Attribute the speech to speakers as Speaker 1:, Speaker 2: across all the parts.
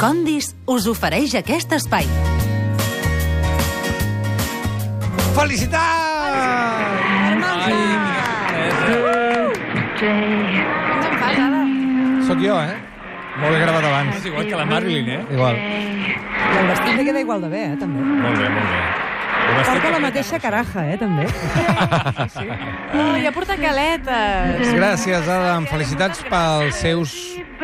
Speaker 1: Condis us ofereix aquest espai.
Speaker 2: Felicitat! Sóc jo, eh? Molt bé gravat abans.
Speaker 3: És igual que la Marilyn, eh?
Speaker 2: Igual.
Speaker 4: I el vestit li queda igual de bé, eh, també.
Speaker 3: Molt bé, molt bé. Ho vas
Speaker 4: Porta
Speaker 3: fer
Speaker 4: la
Speaker 3: que-
Speaker 4: mateixa caraja, eh, també.
Speaker 5: Oh, ja porta caletes.
Speaker 2: Gràcies, Adam. Felicitats pels seus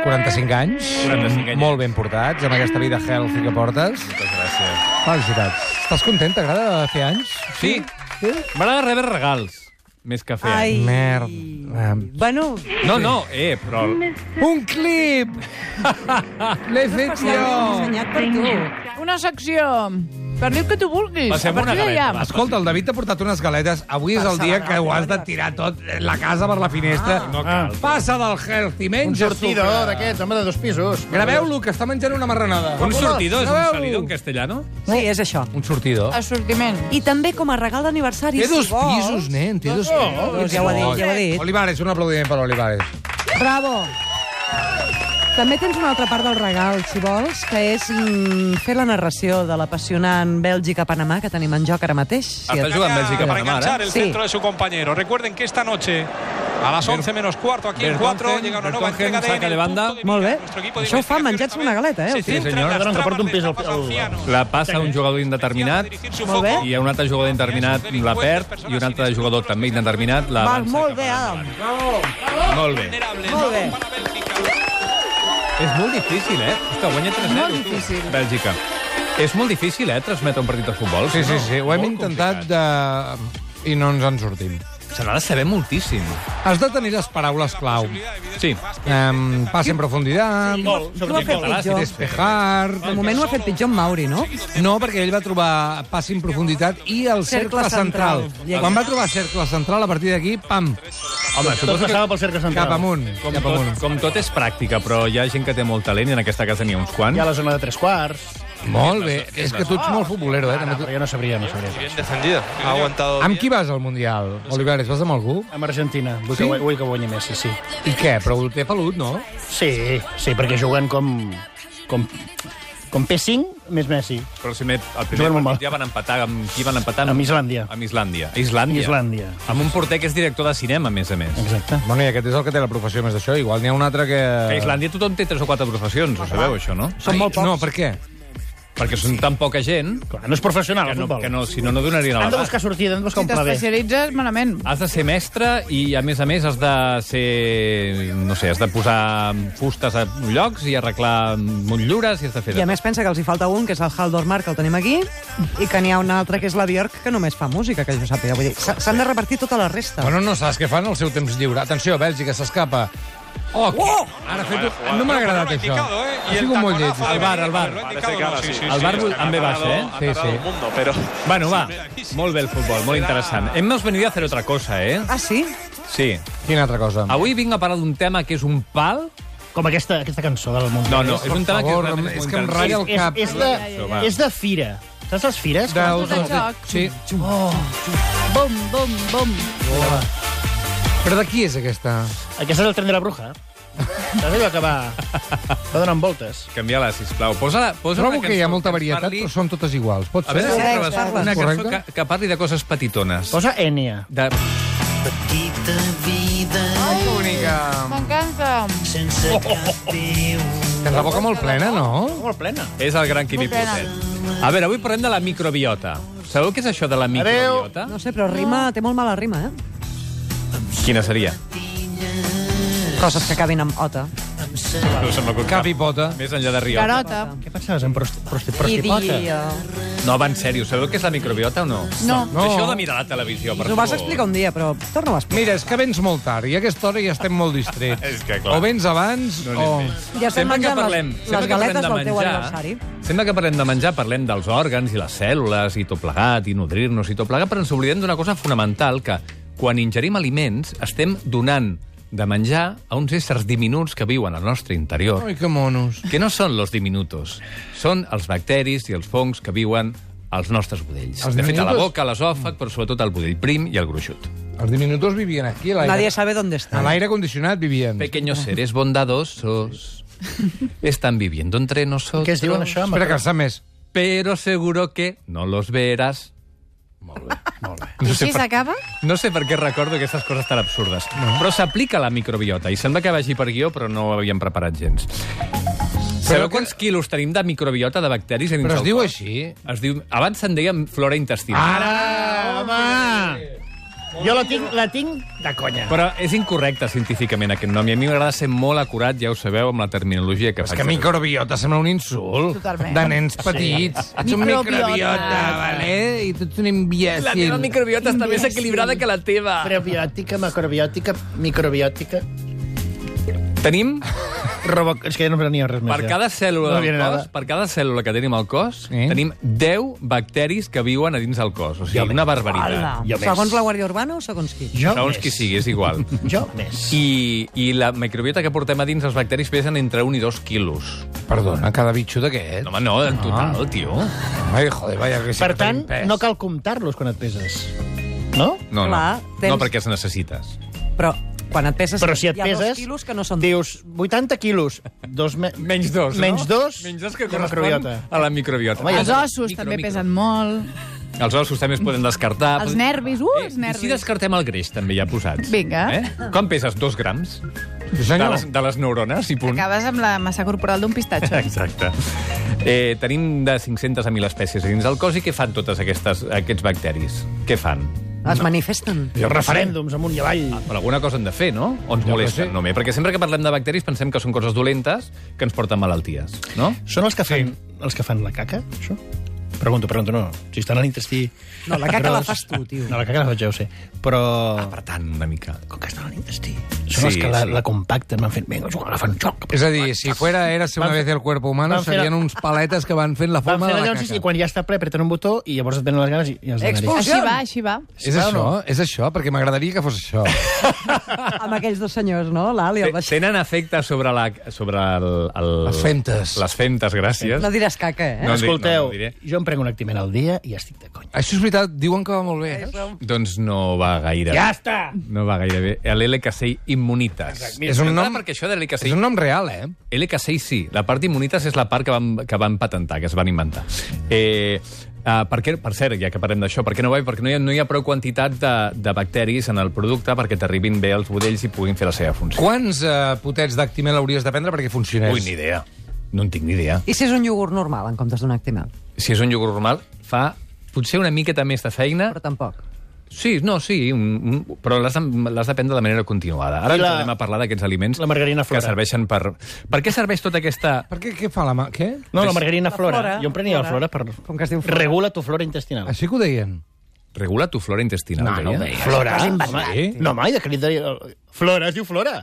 Speaker 2: 45 anys.
Speaker 3: 45 anys.
Speaker 2: Molt ben portats, amb aquesta vida healthy que portes.
Speaker 3: Moltes gràcies.
Speaker 2: Felicitats. Estàs content? T'agrada fer anys?
Speaker 3: Sí, m'agrada rebre regals, més que fer.
Speaker 4: Ai.
Speaker 2: Merda.
Speaker 4: Bueno,
Speaker 3: No, no, eh, però...
Speaker 2: Un clip! L'he fet jo!
Speaker 4: dissenyat per tu.
Speaker 5: Una secció. Per diu que tu vulguis.
Speaker 3: Passem
Speaker 5: a partir
Speaker 3: una
Speaker 5: d'allà.
Speaker 3: galeta,
Speaker 2: Escolta, el David t'ha portat unes galetes. Avui és el dia que ho has de tirar tot, eh, la casa per la finestra. No cal. Passa del healthy,
Speaker 6: Un
Speaker 2: menja
Speaker 6: sortidor
Speaker 2: sucre.
Speaker 6: d'aquests, home, de dos pisos.
Speaker 2: Graveu-lo, que està menjant una marranada.
Speaker 3: Un sortidor és un
Speaker 2: Graveu-ho.
Speaker 3: salidor en castellano?
Speaker 4: Sí, és això.
Speaker 2: Un sortidor.
Speaker 5: Assortiment.
Speaker 4: I també com a regal d'aniversari,
Speaker 2: Té
Speaker 4: Ah, si
Speaker 2: dos
Speaker 4: vols...
Speaker 2: pisos, nen, té dos pisos.
Speaker 4: Doncs ja ho ha dit, ja ho ha dit.
Speaker 2: Olivares, un aplaudiment per Olivares.
Speaker 4: Bravo! També tens una altra part del regal, si vols, que és mm, fer la narració de l'apassionant Bèlgica-Panamà que tenim en joc ara mateix. Si
Speaker 3: Està
Speaker 4: et-
Speaker 3: jugant Bèlgica eh?
Speaker 7: Para
Speaker 3: per demà,
Speaker 7: enganchar
Speaker 3: ara.
Speaker 7: el
Speaker 4: Sí.
Speaker 7: centro de su compañero. Recuerden que esta noche a las 11 menos cuarto aquí en
Speaker 3: Vertonghen,
Speaker 7: 4 llega una nueva
Speaker 3: Vertonghen
Speaker 7: entrega de
Speaker 3: saca
Speaker 7: En el
Speaker 3: de banda.
Speaker 7: punto de
Speaker 4: Molt
Speaker 7: mira.
Speaker 4: bé.
Speaker 7: Nuestro equipo de
Speaker 4: Això ho fa
Speaker 7: investigación
Speaker 4: menjant-se una galeta, eh?
Speaker 7: se
Speaker 4: Sí,
Speaker 7: centra en
Speaker 2: senyor.
Speaker 7: las
Speaker 6: Perdona, que porto un
Speaker 7: tramas
Speaker 6: pes
Speaker 7: de
Speaker 6: al
Speaker 7: capos
Speaker 6: peu.
Speaker 7: ancianos.
Speaker 3: eh, La passa a un jugador indeterminat,
Speaker 7: Molt bé.
Speaker 3: i a un altre jugador indeterminat la perd, i un altre jugador també indeterminat la
Speaker 4: Va,
Speaker 3: avança
Speaker 4: molt
Speaker 3: cap
Speaker 4: bé,
Speaker 3: endavant.
Speaker 4: Adam.
Speaker 3: Molt bé.
Speaker 7: Vulnerables,
Speaker 4: Molt bé.
Speaker 7: para Bélgica.
Speaker 3: És molt difícil, eh? Hosta, guanya 3 0 Molt difícil. Bèlgica. És molt difícil, eh, transmetre un partit de futbol.
Speaker 2: Sí,
Speaker 3: si
Speaker 2: sí,
Speaker 3: no?
Speaker 2: sí, ho hem
Speaker 3: Molt
Speaker 2: intentat
Speaker 3: complicat.
Speaker 2: de... i no ens en sortim.
Speaker 3: Se n'ha de saber moltíssim.
Speaker 2: Has de tenir les paraules clau.
Speaker 3: Sí.
Speaker 2: Um, pas en profunditat,
Speaker 4: Qui ho ha fet pitjor?
Speaker 2: despejar...
Speaker 4: De moment ho ha fet pitjor en Mauri, no?
Speaker 2: No, perquè ell va trobar pas en profunditat i el cercle,
Speaker 4: Cercle
Speaker 2: central.
Speaker 4: central.
Speaker 2: Quan va trobar cercle central, a partir d'aquí, pam,
Speaker 6: Home, tot passava pel cercle central.
Speaker 2: cap amunt.
Speaker 3: Com
Speaker 2: cap
Speaker 3: tot,
Speaker 2: amunt.
Speaker 3: com tot és pràctica, però hi ha gent que té molt talent i en aquesta casa n'hi ha uns
Speaker 6: Hi ha
Speaker 3: quants.
Speaker 6: la zona de tres quarts.
Speaker 2: Molt bé. És que tu ets molt futbolero, eh?
Speaker 6: Ah, no,
Speaker 2: També tu...
Speaker 6: però jo no sabria, no sabria.
Speaker 7: defendida. Ha aguantado.
Speaker 2: Amb qui vas al Mundial, Olivares? Vas amb algú?
Speaker 6: Amb Argentina. Vull,
Speaker 2: Sí?
Speaker 6: que, guanyi- vull que guanyi Messi, sí.
Speaker 2: I què? Però ho té pelut, no?
Speaker 6: Sí, sí, perquè juguen com... com com P5 més Messi.
Speaker 3: Però si met, el primer
Speaker 6: Juguen molt
Speaker 3: partit
Speaker 6: mal.
Speaker 3: ja van empatar. Amb qui van empatar?
Speaker 6: Amb Islàndia.
Speaker 3: Amb Islàndia. Islàndia.
Speaker 6: Islàndia. Eh,
Speaker 3: Amb un porter que és director de cinema, a més a més.
Speaker 6: Exacte.
Speaker 2: Bueno, i aquest és el que té la professió més d'això. Igual n'hi ha un altre que...
Speaker 3: A Islàndia tothom té tres o quatre professions, ho sabeu, això, no?
Speaker 2: Són molt pocs. No, per què?
Speaker 3: Perquè són tan poca gent
Speaker 6: Clar, no és professional,
Speaker 3: que
Speaker 6: el
Speaker 3: no,
Speaker 6: futbol.
Speaker 3: que no, si no, no donarien
Speaker 6: Han
Speaker 3: el
Speaker 6: de
Speaker 3: bat.
Speaker 6: buscar sortida, han de buscar
Speaker 5: Si
Speaker 6: un pla B.
Speaker 5: t'especialitzes, malament.
Speaker 3: Has de ser mestre i, a més a més, has de ser... No sé, has de posar fustes a llocs i arreglar motllures i has de fer...
Speaker 4: I
Speaker 3: de
Speaker 4: a
Speaker 3: tot.
Speaker 4: més pensa que els hi falta un, que és el Haldor Mar, que el tenim aquí, i que n'hi ha un altre, que és la Björk, que només fa música, que jo sàpiga. Vull dir, s'ha- s'han de repartir tota la resta.
Speaker 2: Bueno, no saps què fan al seu temps lliure. Atenció, Bèlgica s'escapa. Oh, oh! Ara ha fet... un- No eh? m'ha agradat això.
Speaker 7: ¿eh?
Speaker 2: Ha sigut molt lleig.
Speaker 7: Al
Speaker 2: això.
Speaker 7: bar, al bar.
Speaker 3: sí, sí, Al bar sí, amb B baixa, eh?
Speaker 2: Sí, sí.
Speaker 3: Bueno, va, molt bé el futbol, molt interessant. Hemos venido a hacer otra cosa, eh?
Speaker 4: Ah, sí?
Speaker 3: Sí.
Speaker 2: Quina altra cosa?
Speaker 3: Avui vinc a parlar d'un tema que és un pal...
Speaker 6: Com aquesta, aquesta cançó del món.
Speaker 3: No, no, és un tema
Speaker 2: favor,
Speaker 3: que... realment
Speaker 2: és
Speaker 3: molt
Speaker 2: que em
Speaker 3: interessant.
Speaker 2: ratlla el
Speaker 6: És,
Speaker 2: cap.
Speaker 6: és, de,
Speaker 3: va.
Speaker 6: és de fira. Saps les fires?
Speaker 2: Del-
Speaker 5: Tot el joc.
Speaker 2: Sí. Oh.
Speaker 5: Bum, bum, bum.
Speaker 2: Però de qui és aquesta?
Speaker 6: Aquest és el tren de la bruja. Saps allò que va... va donant voltes?
Speaker 3: Canvia-la, sisplau. Posa, posa
Speaker 2: Trobo
Speaker 3: una
Speaker 2: que hi ha
Speaker 3: cançó
Speaker 2: molta
Speaker 3: ens
Speaker 2: varietat, doncs,
Speaker 3: parli-
Speaker 2: però són totes iguals. Pot
Speaker 3: A veure
Speaker 2: ser?
Speaker 3: si
Speaker 4: Correcte,
Speaker 3: trobes una cançó
Speaker 2: correcte.
Speaker 3: que, que parli de coses petitones.
Speaker 6: Posa Enya.
Speaker 3: De...
Speaker 2: Ai, que bonica.
Speaker 5: M'encanta.
Speaker 2: Tens la boca molt plena, no?
Speaker 6: Molt plena.
Speaker 3: És el gran Quimi
Speaker 5: Molt bé.
Speaker 3: Portet. A veure, avui parlem de la microbiota. Sabeu què és això de la microbiota?
Speaker 4: No sé, però rima, té molt mala rima, eh?
Speaker 3: Quina seria?
Speaker 4: Coses que acabin amb ota.
Speaker 3: No se m'acut cap.
Speaker 2: Cap i pota.
Speaker 3: Més enllà de riota.
Speaker 5: Carota.
Speaker 6: Què pensaves en prosti, prosti,
Speaker 4: I
Speaker 6: prostipota?
Speaker 4: dir... eh,
Speaker 3: No, va, en sèrio, sabeu què és la microbiota o no?
Speaker 5: No.
Speaker 3: Deixeu de mirar la televisió, per
Speaker 4: Ens ho vas
Speaker 3: favor.
Speaker 4: explicar un dia, però torna-ho a explicar.
Speaker 2: Mira, és que vens molt tard i a aquesta hora ja estem molt distrets.
Speaker 3: És que, clar.
Speaker 2: o vens abans
Speaker 3: No
Speaker 2: o...
Speaker 3: n'hi
Speaker 4: Ja
Speaker 3: sempre que
Speaker 4: estem menjant les-
Speaker 3: parlem,
Speaker 4: les
Speaker 3: sempre que parlem
Speaker 4: galetes
Speaker 3: de
Speaker 4: del teu
Speaker 3: menjar,
Speaker 4: aniversari.
Speaker 3: Sempre que parlem de menjar, parlem dels òrgans i les cèl·lules i tot plegat, i nodrir-nos i tot plegat, però ens oblidem d'una cosa fonamental, que quan ingerim aliments estem donant de menjar a uns éssers diminuts que viuen al nostre interior,
Speaker 2: Ai, que monos.
Speaker 3: que no són los diminutos, són els bacteris i els fongs que viuen als nostres budells.
Speaker 2: Els
Speaker 3: de fet, a la
Speaker 2: diminutos?
Speaker 3: boca, a l'esòfag, però sobretot al budell prim i al gruixut.
Speaker 2: Els diminutos vivien aquí, a l'aire.
Speaker 4: Nadie sabe dónde
Speaker 2: A
Speaker 4: está.
Speaker 2: l'aire condicionat vivien.
Speaker 3: Pequeños seres bondadosos Están viviendo entre nosotros.
Speaker 6: Què es diuen això?
Speaker 2: Espera, que està més.
Speaker 3: Pero seguro que no los verás.
Speaker 8: I així s'acaba?
Speaker 3: No sé per què recordo aquestes coses tan absurdes, però s'aplica a la microbiota, i sembla que vagi per guió, però no ho havíem preparat gens. Sabeu
Speaker 2: que-
Speaker 3: quants quilos tenim de microbiota de bacteris? a dins
Speaker 2: Però es
Speaker 3: del
Speaker 2: diu
Speaker 3: cos?
Speaker 2: així.
Speaker 3: Es diu... Abans se'n deia flora intestinal.
Speaker 2: Ara!
Speaker 6: Jo la tinc, la tinc de conya.
Speaker 2: Ah!
Speaker 3: Però és incorrecte científicament aquest nom, i a mi m'agrada ser molt acurat, ja ho sabeu, amb la terminologia que
Speaker 2: És
Speaker 3: faig.
Speaker 2: que microbiota sembla un insult.
Speaker 5: Totalment.
Speaker 2: De nens petits. Ets un
Speaker 5: Microbiota.
Speaker 2: microbiota, vale? I tu ets un imbècil.
Speaker 3: La meva microbiota està més equilibrada que la teva.
Speaker 6: Prebiòtica, macrobiòtica, microbiòtica...
Speaker 3: Tenim
Speaker 6: Robo... És que ja no venia res més.
Speaker 3: Per
Speaker 6: ja.
Speaker 3: cada
Speaker 6: No
Speaker 3: cèl·lula del
Speaker 6: viene
Speaker 3: cos,
Speaker 6: nada.
Speaker 3: per cada cèl·lula que tenim al cos,
Speaker 2: Sí.
Speaker 3: tenim 10 bacteris que viuen a dins del cos. O sigui, una barbaritat.
Speaker 6: Jo més.
Speaker 4: Segons la Guàrdia Urbana o segons qui?
Speaker 6: Jo
Speaker 3: Segons
Speaker 6: més.
Speaker 3: qui sigui, és igual.
Speaker 6: Jo més.
Speaker 3: I, I la microbiota que portem a dins, els bacteris pesen entre 1 i 2 quilos.
Speaker 2: Perdona, cada bitxo d'aquest.
Speaker 3: No, home, no,
Speaker 6: Ah.
Speaker 3: en total, tio.
Speaker 2: Ai, joder, vaya que sí
Speaker 6: Per
Speaker 2: que
Speaker 6: tant,
Speaker 2: tenim pes.
Speaker 6: no cal comptar-los quan et peses. No?
Speaker 3: No, no.
Speaker 4: Clar, tens-
Speaker 3: No, perquè els necessites.
Speaker 4: Però quan et peses...
Speaker 6: Però si et
Speaker 4: hi ha
Speaker 6: peses...
Speaker 4: Dos quilos que no són...
Speaker 6: Dius, 80 quilos. Dos me...
Speaker 3: Menys 2, no?
Speaker 6: Menys dos
Speaker 3: Menys 2 que
Speaker 6: de
Speaker 3: correspon
Speaker 6: microbiota.
Speaker 3: a la microbiota.
Speaker 6: Home,
Speaker 5: Els ossos també pesen molt.
Speaker 3: Els ossos també es poden descartar. Eh,
Speaker 5: Els nervis, uh, els
Speaker 3: I si
Speaker 5: nervis.
Speaker 3: descartem el greix, també ja posats.
Speaker 5: Vinga.
Speaker 3: Eh? Com peses? Dos grams?
Speaker 2: Sí,
Speaker 3: De
Speaker 2: senyor.
Speaker 3: les, de les neurones i punt.
Speaker 5: Acabes amb la massa corporal d'un pistatxo.
Speaker 3: Exacte. Eh, tenim de 500 a 1.000 espècies dins del cos i què fan totes aquestes, aquests bacteris? Què fan?
Speaker 4: Es manifesten.
Speaker 6: Jo referèndums amunt i avall.
Speaker 3: Però alguna cosa han de fer, no? O ens
Speaker 2: que
Speaker 3: molesten,
Speaker 2: sí.
Speaker 3: només? Perquè sempre que parlem de bacteris pensem que són coses dolentes que ens porten malalties, no?
Speaker 6: Són els que fan, els que fan la caca, això? Pregunto, pregunto, no. Si estan a l'intestí...
Speaker 4: No, la caca
Speaker 6: gros-
Speaker 4: la fas tu, tio.
Speaker 6: No, la caca la faig jo, ho sé. Però...
Speaker 3: Per tant, una mica.
Speaker 6: Ah, Com que estan a l'intestí. Són els
Speaker 3: Sí,
Speaker 6: que la,
Speaker 3: sí.
Speaker 6: la compacten, van fent... Vinga, jo agafen un xoc.
Speaker 2: És a dir, si fuera érase una
Speaker 6: Van fer-
Speaker 2: vez el cuerpo humano,
Speaker 6: van fer-
Speaker 2: serien uns paletes que van fent la
Speaker 6: Van
Speaker 2: forma
Speaker 6: fer
Speaker 2: de
Speaker 6: la
Speaker 2: la
Speaker 6: llenços i
Speaker 2: caca.
Speaker 6: quan ja està ple apreten un botó i llavors et venen les ganes i, i els denaris.
Speaker 5: Així va, així va.
Speaker 2: És això, és això, perquè m'agradaria que fos això.
Speaker 4: Amb aquells dos senyors, no? L'Ali, el baixí.
Speaker 3: Tenen efecte sobre, la, sobre el, el...
Speaker 2: Les femtes.
Speaker 3: Les femtes, gràcies.
Speaker 4: No diràs caca, eh?
Speaker 3: No,
Speaker 6: Escolteu,
Speaker 3: no, no diré.
Speaker 6: jo em prenc un actiment al dia i estic de conya.
Speaker 2: Això és veritat, diuen que va molt bé. eh?
Speaker 3: Doncs no va gaire
Speaker 6: Ja
Speaker 3: bé.
Speaker 6: està!
Speaker 3: No va gaire bé. L'LK6 immunitas.
Speaker 2: És un nom-
Speaker 3: Perquè això de l'LK6
Speaker 2: És un nom real, eh?
Speaker 3: LK6 sí, la part immunitas és la part que van, que van patentar, que es van inventar. Eh, Uh, per, què, per cert, ja que parlem d'això, per què no va? Perquè no hi ha, no hi ha prou quantitat de, de bacteris en el producte perquè t'arribin bé els budells i puguin fer la seva funció.
Speaker 2: Quants eh, potets d'actimel hauries de prendre perquè funcionés?
Speaker 3: Ui, ni idea. No en tinc ni idea.
Speaker 4: I si és un iogurt normal, en comptes d'un actimal?
Speaker 3: Si és un iogurt normal, fa potser una miqueta més de feina.
Speaker 4: Però tampoc.
Speaker 3: Sí, no, sí, un, un, però l'has de, l'has de prendre de manera continuada. Ara
Speaker 6: I la-
Speaker 3: la, anem a parlar d'aquests aliments
Speaker 6: la margarina
Speaker 3: que
Speaker 6: flora.
Speaker 3: serveixen per... Per què serveix tota aquesta...
Speaker 2: Per què, què fa la mà? Què?
Speaker 6: No, la margarina
Speaker 4: La
Speaker 6: flora.
Speaker 4: flora,
Speaker 6: Jo em prenia la
Speaker 4: flora.
Speaker 6: flora per...
Speaker 4: Com que es diu flora.
Speaker 6: Regula tu flora intestinal.
Speaker 2: Així que ho deien.
Speaker 3: Regula tu flora intestinal. deia.
Speaker 6: Flora? Home, Ah, no, mai, de crit de... eh, Flora, es diu flora.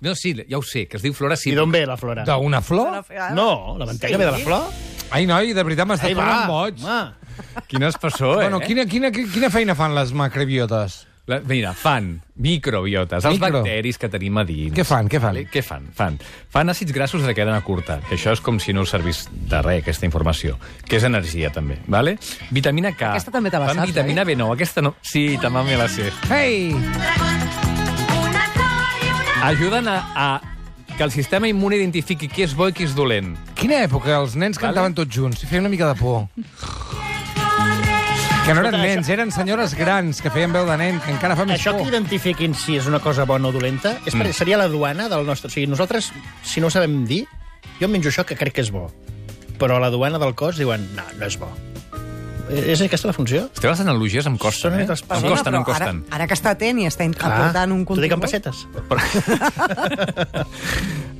Speaker 3: No, sí, ja ho sé, que es diu Flora
Speaker 6: I
Speaker 3: sí.
Speaker 6: d'on ve la flora?
Speaker 2: D'una flor?
Speaker 6: No, la mantega sí. ve de la flor.
Speaker 2: Ai, noi, de veritat m'estàs
Speaker 6: Ei, va,
Speaker 2: parlant boig.
Speaker 6: home.
Speaker 3: Quina es passó, eh?
Speaker 2: Bueno, quina, quina, quina feina fan les macrobiotes?
Speaker 3: La, mira, fan microbiotes, els
Speaker 2: Micro.
Speaker 3: bacteris que tenim a dins.
Speaker 2: Què fan, què fan?
Speaker 3: Vale, Què fan? Fan, fan àcids grassos de cadena curta, que això és com si no us servís de res, aquesta informació, que és energia, també. Vale? Vitamina K.
Speaker 4: Aquesta també te la
Speaker 3: fan
Speaker 4: saps,
Speaker 3: vitamina B9, aquesta no. Sí, també me la sé.
Speaker 2: Hey!
Speaker 3: Ajuden a, a que el sistema immune identifiqui qui és bo i qui és dolent.
Speaker 2: Quina època els nens cantaven tots junts i feien una mica de por. Que no eren nens, eren senyores grans que feien veu de nen, que encara fa més
Speaker 6: Això que
Speaker 2: por.
Speaker 6: identifiquin si és una cosa bona o dolenta és mm. seria la duana del nostre... O sigui, nosaltres, si no ho sabem dir, jo em menjo això que crec que és bo. Però a la duana del cos diuen, no, no és bo. Eh, És aquesta la funció?
Speaker 3: Les teves analogies em costen,
Speaker 6: Són
Speaker 3: eh?
Speaker 6: una mica els
Speaker 3: Em
Speaker 6: passos.
Speaker 3: costen, em
Speaker 4: Però ara,
Speaker 3: costen.
Speaker 4: ara que està atent i està in- aportant un
Speaker 6: T'ho dic amb
Speaker 4: contingut...
Speaker 6: pessetes.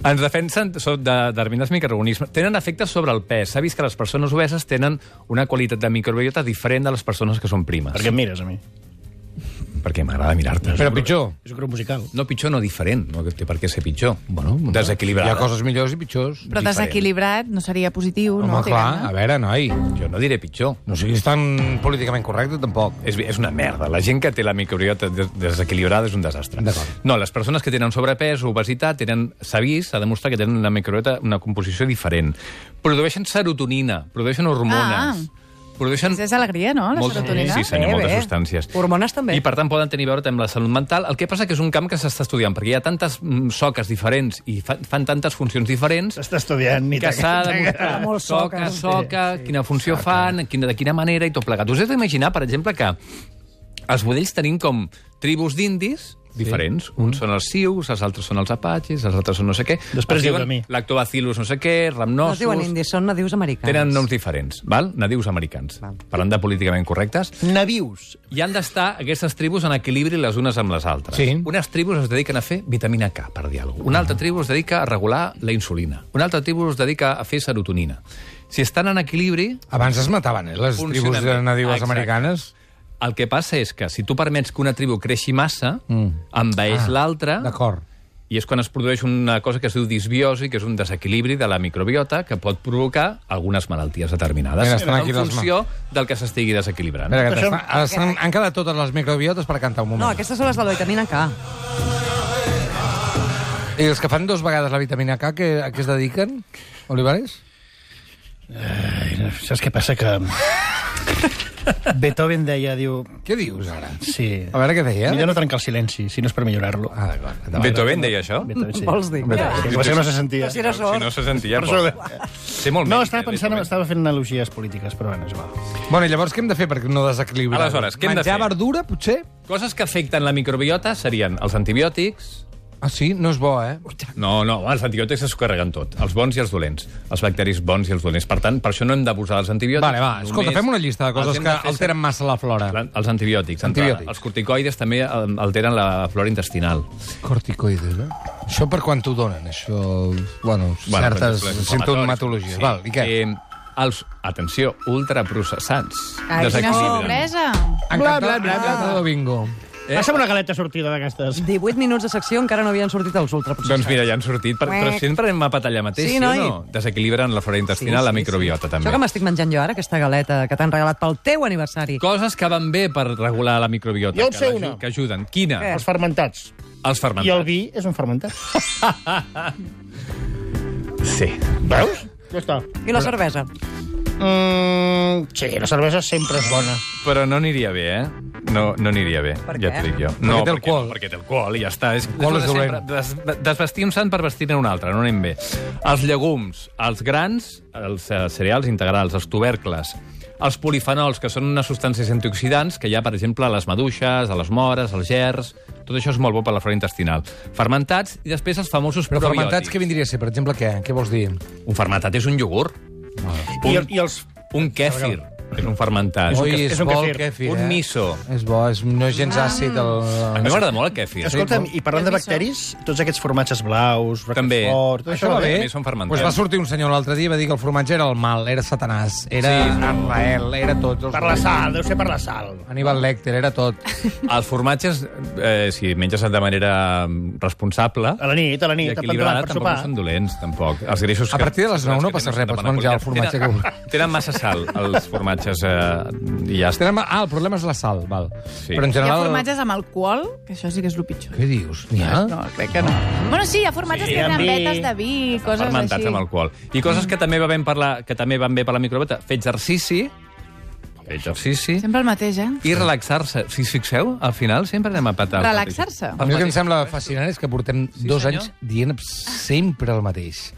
Speaker 3: Ens defensen so- de determinats microorganismes. Tenen efectes sobre el pes. S'ha vist que les persones obeses tenen una qualitat de microbiota diferent de les persones que són primes.
Speaker 6: Perquè em mires a mi.
Speaker 3: Perquè m'agrada mirar-te.
Speaker 2: Però pitjor.
Speaker 6: És un grup musical.
Speaker 3: No pitjor, no diferent. No té per què ser pitjor. Bueno,
Speaker 2: Hi
Speaker 3: Desequilibrada.
Speaker 2: ha coses millors i pitjors.
Speaker 5: Però
Speaker 3: Diferent.
Speaker 5: desequilibrat no seria positiu,
Speaker 2: Home,
Speaker 5: no?
Speaker 2: clar,
Speaker 5: Diguem-ne.
Speaker 2: a veure, noi,
Speaker 3: Jo no diré pitjor.
Speaker 2: no siguis tan políticament correcte, tampoc.
Speaker 3: És, és una merda. La gent que té la microbiota des- desequilibrada és un desastre.
Speaker 2: D'acord.
Speaker 3: No, les persones que tenen sobrepès o obesitat tenen, s'ha vist, s'ha demostrat que tenen una microbiota, una composició diferent. Produeixen serotonina, produeixen hormones. Ah. produeixen...
Speaker 5: És alegria, no?, la serotonina.
Speaker 3: Sí, senyor,
Speaker 4: Bé,
Speaker 3: moltes
Speaker 4: bé.
Speaker 3: substàncies.
Speaker 4: Hormones també.
Speaker 3: I, per tant, poden tenir a veure també amb la salut mental. El que passa que és un camp que s'està estudiant, perquè hi ha tantes mm, soques diferents i fa, fan tantes funcions diferents
Speaker 6: S'està estudiant. Ni
Speaker 3: que s'ha de
Speaker 4: Hi ha
Speaker 3: demostrar
Speaker 4: molts
Speaker 3: soca,
Speaker 4: soques.
Speaker 3: soca, quina funció fan, quina, de quina manera i tot plegat. Us heu d'imaginar, per exemple, que els budells tenim com tribus d'indis diferents. Uns són els sius, els altres són els apatxis, els altres són no sé què.
Speaker 6: Després
Speaker 3: Els
Speaker 6: diu
Speaker 3: diuen
Speaker 6: de mi.
Speaker 3: Lactobacillus no sé què,
Speaker 4: No
Speaker 3: ramnosus...
Speaker 4: es diuen indis, són nadius americans.
Speaker 3: Tenen noms diferents, val? nadius americans.
Speaker 4: Val.
Speaker 3: Parlant de políticament correctes,
Speaker 6: Navius.
Speaker 3: i han d'estar aquestes tribus en equilibri les unes amb les altres.
Speaker 2: Sí.
Speaker 3: Unes tribus es dediquen a fer vitamina K, per dir alguna cosa. Una altra tribu es dedica a regular la insulina. Una altra tribu es dedica a fer serotonina. Si estan en equilibri,
Speaker 2: Abans es mataven, eh, les
Speaker 3: Funcionen
Speaker 2: tribus de
Speaker 3: bé.
Speaker 2: nadiues
Speaker 3: Exacte.
Speaker 2: americanes.
Speaker 3: el que passa és que si tu permets que una tribu creixi massa, mm. envaeix ah, l'altra...
Speaker 2: D'acord.
Speaker 3: I és quan es produeix una cosa que es diu disbiosi, que és un desequilibri de la microbiota que pot provocar algunes malalties determinades.
Speaker 2: Mira, estan aquí
Speaker 3: en
Speaker 2: les
Speaker 3: funció del que s'estigui desequilibrant.
Speaker 2: Mira, que t'estan- estan- han quedat totes les microbiotes per cantar un moment.
Speaker 4: No, aquestes són les de la vitamina K.
Speaker 2: I els que fan dos vegades la vitamina K, que, a què es dediquen, Olivares?
Speaker 6: Saps què passa? Que... Beethoven deia, diu...
Speaker 2: Què dius, ara?
Speaker 6: Sí.
Speaker 2: A veure què deia.
Speaker 6: Millor no trencar el silenci, si no és per millorar-lo.
Speaker 2: Ah, d'acord. endavant.
Speaker 3: Beethoven deia això?
Speaker 6: Beethoven, sí.
Speaker 4: Vols dir?
Speaker 6: El que passa que no se sentia.
Speaker 4: Si era
Speaker 3: Si
Speaker 4: sort.
Speaker 3: no se sentia,
Speaker 6: Per
Speaker 3: poc.
Speaker 6: sobre.
Speaker 3: Sé molt
Speaker 6: No,
Speaker 3: mèrit,
Speaker 6: estava
Speaker 3: eh,
Speaker 6: pensant,
Speaker 3: Beethoven.
Speaker 6: estava fent analogies polítiques, però bueno, és igual.
Speaker 2: Bueno, i llavors què hem de fer per no desequilibrar?
Speaker 3: Aleshores, què hem de
Speaker 2: Menjar
Speaker 3: fer?
Speaker 2: verdura, potser?
Speaker 3: Coses que afecten la microbiota serien els antibiòtics...
Speaker 2: Ah, sí? No és bo, eh?
Speaker 3: No, no, els antibiòtics es carreguen tot, els bons i els dolents, els bacteris bons i els dolents. Per tant, per això no hem d'abusar dels antibiòtics.
Speaker 2: Vale, va, escolta,
Speaker 3: només
Speaker 2: fem una llista de
Speaker 3: els
Speaker 2: coses
Speaker 3: hem
Speaker 2: que
Speaker 3: de fer
Speaker 2: alteren massa la flora.
Speaker 3: servir. Els antibiòtics.
Speaker 2: Antibiòtics.
Speaker 3: Antibiòtics. Els corticoides també eh, alteren la flora intestinal.
Speaker 2: Corticoides, eh? Això per quan t'ho donen, això... Bueno,
Speaker 3: Bueno,
Speaker 2: certes
Speaker 3: per exemple,
Speaker 2: sintomatologies.
Speaker 3: sí.
Speaker 2: Val, i què?
Speaker 3: Eh, els, atenció, ultraprocessats.
Speaker 8: Ai, quina
Speaker 3: desequilibren.
Speaker 8: sorpresa.
Speaker 2: Encantado, bla, bla, bla. bingo.
Speaker 3: Eh?
Speaker 6: Passa'm una galeta sortida d'aquestes.
Speaker 4: 18 minuts de secció encara no havien sortit els ultraprocessats.
Speaker 3: Doncs mira, ja han sortit, per, però sempre anem mapat allà mateix,
Speaker 4: Sí,
Speaker 3: sí, sí o
Speaker 4: noi?
Speaker 3: no? Desequilibren la flora intestinal, sí, sí, la microbiota també.
Speaker 4: Això que m'estic menjant jo ara, aquesta galeta que t'han regalat pel teu aniversari.
Speaker 3: Coses que van bé per regular la microbiota.
Speaker 6: Jo en
Speaker 3: que
Speaker 6: sé
Speaker 3: l'aju-
Speaker 6: una.
Speaker 3: Que ajuden. Quina?
Speaker 4: Què?
Speaker 6: Els fermentats.
Speaker 3: Els Eh. fermentats.
Speaker 6: I el vi és un fermentat.
Speaker 3: Sí.
Speaker 6: Veus? Ja està.
Speaker 4: I la cervesa.
Speaker 6: Mm, sí, la cervesa sempre és bona.
Speaker 3: Però no aniria bé, eh? No, no aniria bé,
Speaker 4: Per
Speaker 3: ja
Speaker 4: què?
Speaker 3: t'ho dic jo.
Speaker 2: Perquè té alcohol.
Speaker 3: perquè té alcohol i ja està. És,
Speaker 2: Alcohol és
Speaker 3: és sempre
Speaker 2: dolent.
Speaker 3: des, desvestir un sant per vestir-ne un altre, no anem bé. Els llegums, els grans, els eh, cereals integrals, els tubercles, els polifenols, que són unes substàncies antioxidants que hi ha, per exemple, a les maduixes, a les mores, als gerds... Tot això és molt bo per la flora intestinal. Fermentats i després els famosos
Speaker 2: Però
Speaker 3: probiòtics.
Speaker 2: fermentats, què vindria a ser? Per exemple, què? Què vols dir?
Speaker 3: Un fermentat és un iogurt.
Speaker 2: Ah.
Speaker 6: I,
Speaker 3: Un,
Speaker 6: el, i els...
Speaker 3: un kèfir és un fermentat.
Speaker 2: Ui,
Speaker 6: kefir,
Speaker 2: és
Speaker 6: és un
Speaker 2: bo el
Speaker 6: kefir.
Speaker 2: kefir,
Speaker 3: Un
Speaker 2: eh? Ah,
Speaker 3: miso.
Speaker 2: És bo, és, no és gens àcid.
Speaker 3: A
Speaker 2: El...
Speaker 3: mi m'agrada molt el kèfir.
Speaker 6: Escolta'm, i parlant de bacteris, tots aquests formatges blaus,
Speaker 3: També.
Speaker 6: roquefort... Tot això va bé.
Speaker 3: També són fermentats.
Speaker 2: Pues va sortir un senyor l'altre dia i va dir que el formatge era el mal, era Satanàs, era
Speaker 3: Sí.
Speaker 2: sí. Arrael, era tot. Els
Speaker 6: Per la sal, deu ser per la sal.
Speaker 2: Aníbal Lecter, era tot.
Speaker 3: Els formatges, eh, si menges de manera mm, responsable
Speaker 6: A la nit, a la
Speaker 3: i
Speaker 6: nit,
Speaker 3: equilibrada,
Speaker 6: per
Speaker 3: tampoc
Speaker 6: sopar.
Speaker 3: no són dolents, tampoc. Els greixos
Speaker 2: A
Speaker 3: que-
Speaker 2: partir de les nou
Speaker 3: que
Speaker 2: no
Speaker 3: tenen
Speaker 2: passa
Speaker 3: són
Speaker 2: res,
Speaker 3: de
Speaker 2: pots
Speaker 3: bona
Speaker 2: menjar el
Speaker 3: qualitat.
Speaker 2: formatge que
Speaker 3: Tenen, tenen massa sal, els formatges, eh, i ja està.
Speaker 2: Tenen- Ah, el problema és la sal, val.
Speaker 3: Sí.
Speaker 2: Però en
Speaker 5: Hi ha
Speaker 2: general...
Speaker 5: formatges amb alcohol, que això sí que és el pitjor.
Speaker 2: Què dius? N'hi ha?
Speaker 5: No, crec que no. Bueno, sí, hi ha formatges
Speaker 6: Sí,
Speaker 5: que
Speaker 6: amb
Speaker 5: tenen
Speaker 6: vi.
Speaker 5: vetes de vi, coses
Speaker 3: fermentats
Speaker 5: així.
Speaker 3: amb alcohol. I coses que també, va ben per la, que també van bé per la microbiota. Fer exercici, fer exercici,
Speaker 5: Sempre el mateix, eh?
Speaker 3: i relaxar-se. Si us fixeu, al final sempre anem a patar. el mateix.
Speaker 5: Relaxar-se.
Speaker 2: A mi el que em sembla fascinant és que portem
Speaker 3: Sí,
Speaker 2: dos
Speaker 3: senyor.
Speaker 2: anys dient sempre el mateix.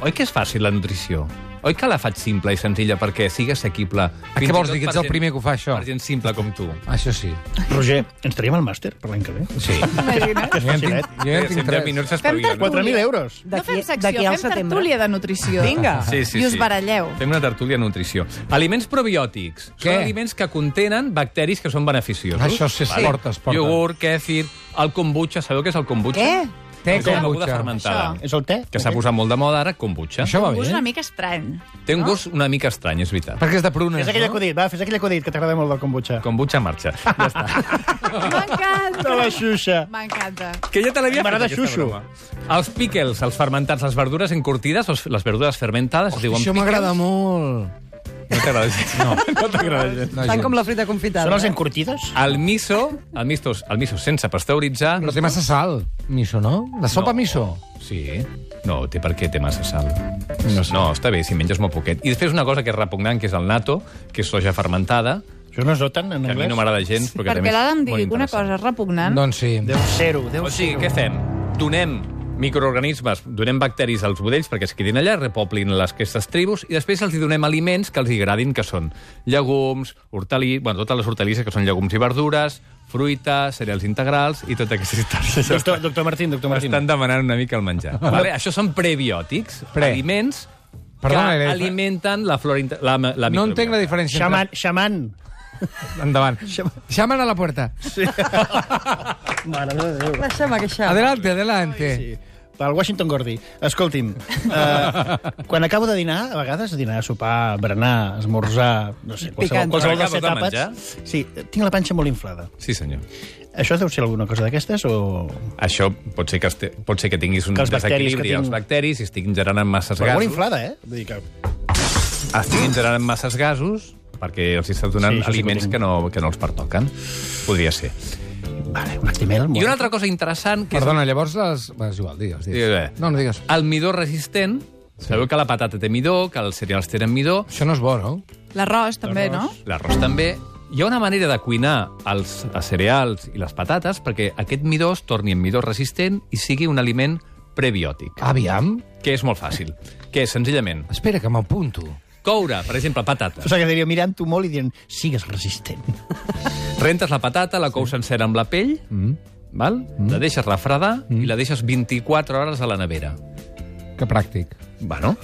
Speaker 3: Oi que és fàcil, la nutrició? Oi que la faig simple i senzilla perquè sigui assequible?
Speaker 2: què
Speaker 3: Fins i
Speaker 2: vols
Speaker 3: tot
Speaker 2: dir, Ah, que ets
Speaker 3: per
Speaker 2: el primer que ho fa, això?
Speaker 3: Per gent simple com tu.
Speaker 2: Això sí.
Speaker 6: Roger, ens traiem el màster per l'any que ve?
Speaker 2: Sí.
Speaker 3: Ah,
Speaker 5: Imagina't.
Speaker 2: Jo ja en
Speaker 6: facilet.
Speaker 2: tinc, jo ja en tinc
Speaker 3: Sí, en 10
Speaker 2: tres.
Speaker 3: minuts
Speaker 5: Fem
Speaker 3: s'espavila, no?
Speaker 6: 4.000 euros.
Speaker 5: No fem secció,
Speaker 4: al
Speaker 5: fem tertúlia de nutrició.
Speaker 4: Vinga.
Speaker 3: Sí, sí,
Speaker 5: I us
Speaker 3: sí.
Speaker 5: baralleu.
Speaker 3: Fem una tertúlia de nutrició. Aliments probiòtics.
Speaker 2: Què? Ah,
Speaker 3: Són aliments que contenen bacteris que són beneficiosos.
Speaker 2: Això sí, es porta, es porta.
Speaker 3: Iogurt, kefir, el kombucha. Sabeu què és el kombucha?
Speaker 5: Què?
Speaker 2: Té
Speaker 3: És una beguda
Speaker 2: kombucha.
Speaker 3: fermentada.
Speaker 5: Això.
Speaker 6: És el te?
Speaker 3: Ah. Que s'ha posat molt de moda ara, kombucha.
Speaker 2: Això va
Speaker 5: Un gust
Speaker 2: bé,
Speaker 5: una
Speaker 2: eh?
Speaker 5: mica estrany.
Speaker 3: Té un gust una mica estrany, és veritat.
Speaker 2: Perquè és de prunes,
Speaker 6: Fes aquell
Speaker 2: no?
Speaker 6: acudit, va, fes aquell acudit, que t'agrada molt del kombucha.
Speaker 3: Kombucha en marxa. Ja està.
Speaker 6: De
Speaker 5: M'encanta.
Speaker 6: la xuxa.
Speaker 5: M'encanta.
Speaker 3: Que ja te l'havia
Speaker 6: M'agrada
Speaker 3: aquesta
Speaker 6: xuxo.
Speaker 3: broma. Els pickles, els fermentats, les verdures encurtides, o les verdures fermentades, es diuen
Speaker 2: Això m'agrada molt.
Speaker 3: No t'agrada gens. No, no t'agrada gens.
Speaker 2: No,
Speaker 4: Tant
Speaker 2: gens.
Speaker 4: com la frita confitada.
Speaker 6: Són els encurtides?
Speaker 3: El miso, el miso, el miso sense pasteuritzar...
Speaker 2: Però té massa sal, miso, no? La sopa miso.
Speaker 3: Sí. No, té per què té massa sal. No, no està bé, si menges molt poquet. I després una cosa que és repugnant, que és el nato, que és soja fermentada,
Speaker 6: Això no es noten en
Speaker 3: que a mi
Speaker 6: anglès?
Speaker 3: no m'agrada gens, però que
Speaker 8: Perquè
Speaker 3: també
Speaker 8: l'Adam
Speaker 3: és
Speaker 8: digui
Speaker 3: molt
Speaker 8: una
Speaker 3: interessant.
Speaker 8: cosa repugnant.
Speaker 2: Doncs sí.
Speaker 6: Deu ser-ho, deu
Speaker 3: O sigui, què fem? Donem microorganismes, donem bacteris als budells perquè es quedin allà, repoblin les aquestes tribus i després els hi donem aliments que els hi agradin, que són llegums, hortalí... Bueno, totes les hortalisses que són llegums i verdures, fruita, cereals integrals i tota totes aquestes històries.
Speaker 6: Doctor, doctor Martín, doctor Martín.
Speaker 3: Estan demanant una mica el menjar. Vale? Això són prebiòtics,
Speaker 2: Pre.
Speaker 3: aliments
Speaker 2: Perdona,
Speaker 3: que
Speaker 2: Irene.
Speaker 3: alimenten la flora... inter- La,
Speaker 2: No
Speaker 3: la microbiota.
Speaker 2: entenc la diferència.
Speaker 6: Xaman,
Speaker 2: Entre...
Speaker 6: xaman.
Speaker 2: Endavant. Xaman a la puerta.
Speaker 6: Mare de Déu.
Speaker 4: Deixa'm aquesta.
Speaker 2: Adelante, adelante.
Speaker 6: Sí. Pel Washington Gordy. Escolti'm, eh, quan acabo de dinar, a vegades dinar, sopar, berenar, esmorzar, no sé, qualsevol,
Speaker 4: Picant.
Speaker 6: qualsevol dels set
Speaker 3: Acabes de
Speaker 6: àpats... Sí, tinc la panxa molt inflada.
Speaker 3: Sí, senyor.
Speaker 6: Això deu ser alguna cosa d'aquestes o...
Speaker 3: Això pot ser que, este, pot ser que tinguis un
Speaker 6: Que els bacteris
Speaker 3: desequilibri
Speaker 6: que tinc-
Speaker 3: als bacteris i estiguin generant masses
Speaker 6: Però molt
Speaker 3: gasos.
Speaker 6: inflada, eh? Vull dir que...
Speaker 3: Estiguin generant masses gasos perquè els hi estàs donant
Speaker 6: Sí,
Speaker 3: sí,
Speaker 6: això sí que
Speaker 3: aliments
Speaker 6: tinc.
Speaker 3: que, no, que no els pertoquen. Podria ser.
Speaker 6: Vale,
Speaker 3: I
Speaker 6: Martimel, molt.
Speaker 3: una altra cosa interessant... Que
Speaker 2: Perdona, llavors les... Bé, és igual, digues, digues.
Speaker 3: Digues.
Speaker 2: No, no digues.
Speaker 3: És el midó resistent. Sabeu que la patata té midó, que els cereals tenen midó,
Speaker 2: Això no és bo, no?
Speaker 5: L'arròs, també, no?
Speaker 3: L'arròs també. Hi ha una manera de cuinar els cereals i les patates perquè aquest midó es torni en midó resistent i sigui un aliment prebiòtic,
Speaker 2: Aviam.
Speaker 3: que és molt fàcil, que és senzillament
Speaker 2: Espera, que m'apunto.
Speaker 3: coure, per exemple, patata.
Speaker 6: O sigui, devia mirant-ho molt i dient, sigues resistent.
Speaker 3: Rentes la patata, la cous sencera amb la pell, mm. val? Mm. la deixes refredar mm. i la deixes 24 hores a la nevera.
Speaker 2: Que pràctic.
Speaker 3: Bueno,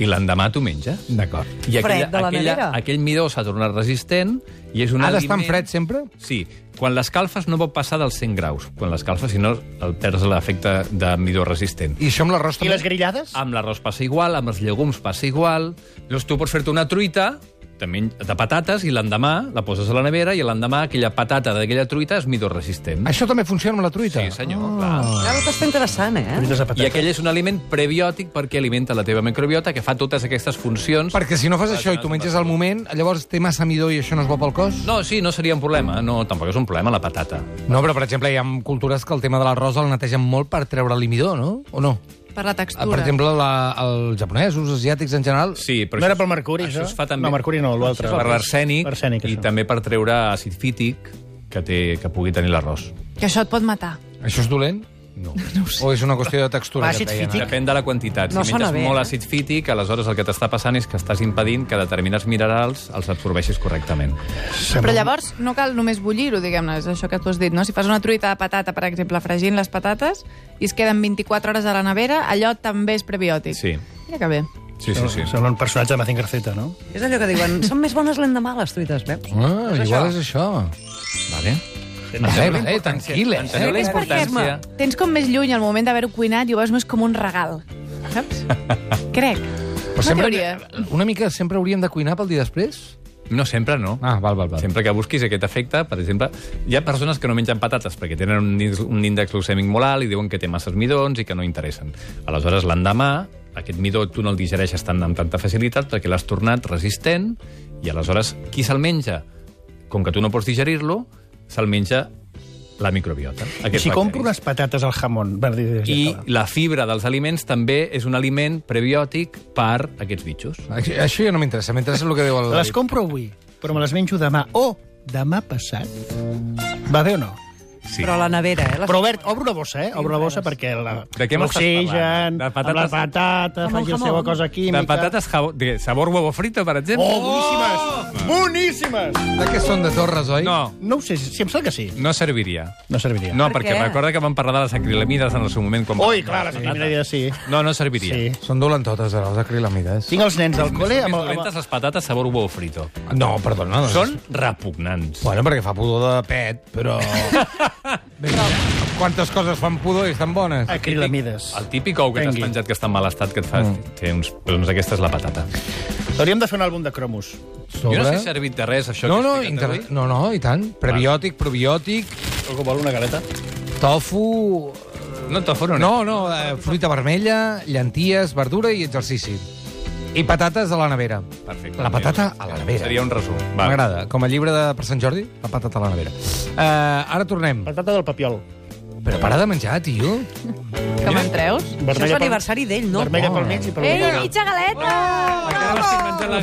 Speaker 3: i l'endemà t'ho menges.
Speaker 2: D'acord.
Speaker 3: I
Speaker 4: Fred de la nevera?
Speaker 3: aquell midó s'ha tornat resistent i és un
Speaker 2: Ha d'estar
Speaker 3: aliment...
Speaker 2: en fred sempre?
Speaker 3: Sí, quan l'escalfes no pot passar dels 100 graus. Quan l'escalfes, si no, el perds l'efecte de midó resistent.
Speaker 2: I això amb l'arròs
Speaker 6: I
Speaker 2: també?
Speaker 6: les grillades?
Speaker 3: Amb l'arròs passa igual, amb els llegums passa igual. Llavors tu pots fer-te una truita també de patates i l'endemà la poses a la nevera i l'endemà aquella patata d'aquella truita és midó resistent.
Speaker 2: Això també funciona amb la truita?
Speaker 3: Sí, senyor,
Speaker 6: Ah.
Speaker 3: clar.
Speaker 4: Ara t'està interessant, eh?
Speaker 6: Fruites de
Speaker 3: I
Speaker 6: patata.
Speaker 3: aquell és un aliment prebiòtic perquè alimenta la teva microbiota, que fa totes aquestes funcions.
Speaker 2: Perquè si no fas això i tu menges al moment, llavors té massa midó i això no és bo pel cos?
Speaker 3: No, sí, no seria un problema. No, tampoc és un problema la patata.
Speaker 2: No, però per exemple hi ha cultures que el tema de l'arròs el netegen molt per treure el midó, no? O no?
Speaker 8: Per la
Speaker 2: Ah,
Speaker 8: textura.
Speaker 2: Per exemple, la, els japonesos, els asiàtics en general...
Speaker 3: Sí, però
Speaker 6: No
Speaker 3: això
Speaker 6: era pel mercuri, això?
Speaker 3: Això es fa també...
Speaker 6: No, mercuri no, l'altre.
Speaker 3: Per l'arsènic
Speaker 6: L'arsènic,
Speaker 3: i
Speaker 6: això.
Speaker 3: també per treure àcid fític que, té, que pugui tenir l'arròs.
Speaker 8: Que això et pot matar.
Speaker 2: Això és dolent? No. no O és una qüestió de textura?
Speaker 6: Àcid
Speaker 2: que et deien,
Speaker 6: fític?
Speaker 2: ara?
Speaker 3: Depèn de la quantitat.
Speaker 4: No
Speaker 3: si
Speaker 4: sona
Speaker 3: menges
Speaker 4: bé,
Speaker 3: molt
Speaker 4: eh?
Speaker 3: àcid fític, aleshores el que t'està passant és que estàs impedint que determinats minerals els absorbeixis correctament.
Speaker 5: Però llavors no cal només bullir-ho, diguem-ne, és això que tu has dit, no? Si fas una truita de patata, per exemple, fregint les patates, i es queden 24 hores a la nevera, allò també és prebiòtic.
Speaker 3: Sí,
Speaker 5: Mira que bé.
Speaker 3: sí, sí. sí.
Speaker 6: Sembla un personatge de Mazinger Z, no?
Speaker 4: És allò que diuen, són més bones l'endemà, les truites, veus?
Speaker 2: Ah,
Speaker 4: És
Speaker 2: igual
Speaker 4: això.
Speaker 2: és això.
Speaker 3: Vale.
Speaker 2: Vale, vale, tranquil·les. eh?
Speaker 3: Enteneu la
Speaker 5: És perquè
Speaker 3: importància...
Speaker 5: tens com més lluny al moment d'haver-ho cuinat i ho veus més com un regal, saps? Crec.
Speaker 2: Però
Speaker 5: Una
Speaker 2: sempre,
Speaker 5: teoria.
Speaker 2: Eh, una mica sempre hauríem de cuinar pel dia després?
Speaker 3: No, sempre no.
Speaker 2: Ah, val, val, val.
Speaker 3: Sempre que busquis aquest efecte, per exemple, hi ha persones que no mengen patates perquè tenen un, índex- un índex glucèmic molt alt i diuen que té masses midons i que no interessen. Aleshores, l'endemà, aquest midó tu no el digereixes tant amb tanta facilitat perquè l'has tornat resistent i aleshores qui se'l menja? Com que tu no pots digerir-lo, se'l menja la microbiota.
Speaker 6: I
Speaker 3: aquests
Speaker 6: si compro
Speaker 3: bacteris.
Speaker 6: unes patates al jamón... Bueno, digues, ja
Speaker 3: I
Speaker 6: està, va.
Speaker 3: la fibra dels aliments també és un aliment prebiòtic per aquests bitxos.
Speaker 2: Això, això ja no m'interessa, m'interessa el que diu el...
Speaker 6: Les compro avui, però me les menjo demà. O demà passat. Va bé o no?
Speaker 3: Sí.
Speaker 4: Però a la nevera, eh? Les...
Speaker 6: Però obert, obro la bossa, eh? Obro la bossa perquè la-
Speaker 3: De què m'estàs
Speaker 6: l'oxigen,
Speaker 3: parlant? De
Speaker 6: amb
Speaker 3: patates-
Speaker 6: la patata, faig la seva cosa química...
Speaker 3: De patates jabo- de sabor huevo frito, per exemple.
Speaker 6: Oh, boníssimes! Boníssimes!
Speaker 2: De què Ah, són, de torres, oi?
Speaker 3: Oh! No,
Speaker 6: No ho sé, si em sembla que sí.
Speaker 3: no serviria.
Speaker 6: No serviria.
Speaker 3: No,
Speaker 4: Per
Speaker 3: perquè
Speaker 4: què?
Speaker 3: recorda que vam parlar de les acrilamides en el seu moment. Com
Speaker 6: Ui, clar, la primera idea sí.
Speaker 3: No, no serviria.
Speaker 6: Sí.
Speaker 2: Són dolentotes, ara, els acrilamides.
Speaker 6: Tinc els nens del col·le
Speaker 3: Més
Speaker 6: amb, el- amb,
Speaker 3: dolentes les patates sabor huevo frito.
Speaker 2: No, perdona. doncs-
Speaker 3: Són repugnants.
Speaker 2: Bueno, perquè fa pudor de pet, però... Vinga, Quantes coses fan pudor i estan bones?
Speaker 6: el acrilamides.
Speaker 3: El típic ou que t'has
Speaker 6: Vengui.
Speaker 3: menjat que està en mal estat que et fa... Mm. Té uns... Doncs aquesta és la patata.
Speaker 6: Hauríem de fer un àlbum de cromos.
Speaker 2: Sobre...
Speaker 3: Jo no sé si ha servit de res, això
Speaker 2: no,
Speaker 3: que
Speaker 2: no,
Speaker 3: he
Speaker 2: inter...
Speaker 3: explicat avui.
Speaker 2: no, no, i tant. Prebiòtic, probiòtic,
Speaker 6: O que vol una galeta.
Speaker 2: tofu...
Speaker 3: No, tofu, no,
Speaker 2: No, no, eh, fruita vermella, llenties, verdura i exercici. I patates a la nevera.
Speaker 3: Perfecte.
Speaker 2: La patata a la nevera.
Speaker 3: Seria un resum. Va.
Speaker 2: M'agrada. Com a llibre de, per Sant Jordi, la patata a la nevera. Uh, ara tornem.
Speaker 6: Patata del papiol.
Speaker 2: Però para de menjar, tio.
Speaker 5: Que me'n treus?
Speaker 4: Això és
Speaker 6: pel-
Speaker 4: l'aniversari d'ell, no? Oh.
Speaker 6: Vermella pel mig i per
Speaker 8: Ei,
Speaker 6: l'homogal.
Speaker 8: mitja galeta!
Speaker 3: Encara m'estic menjant la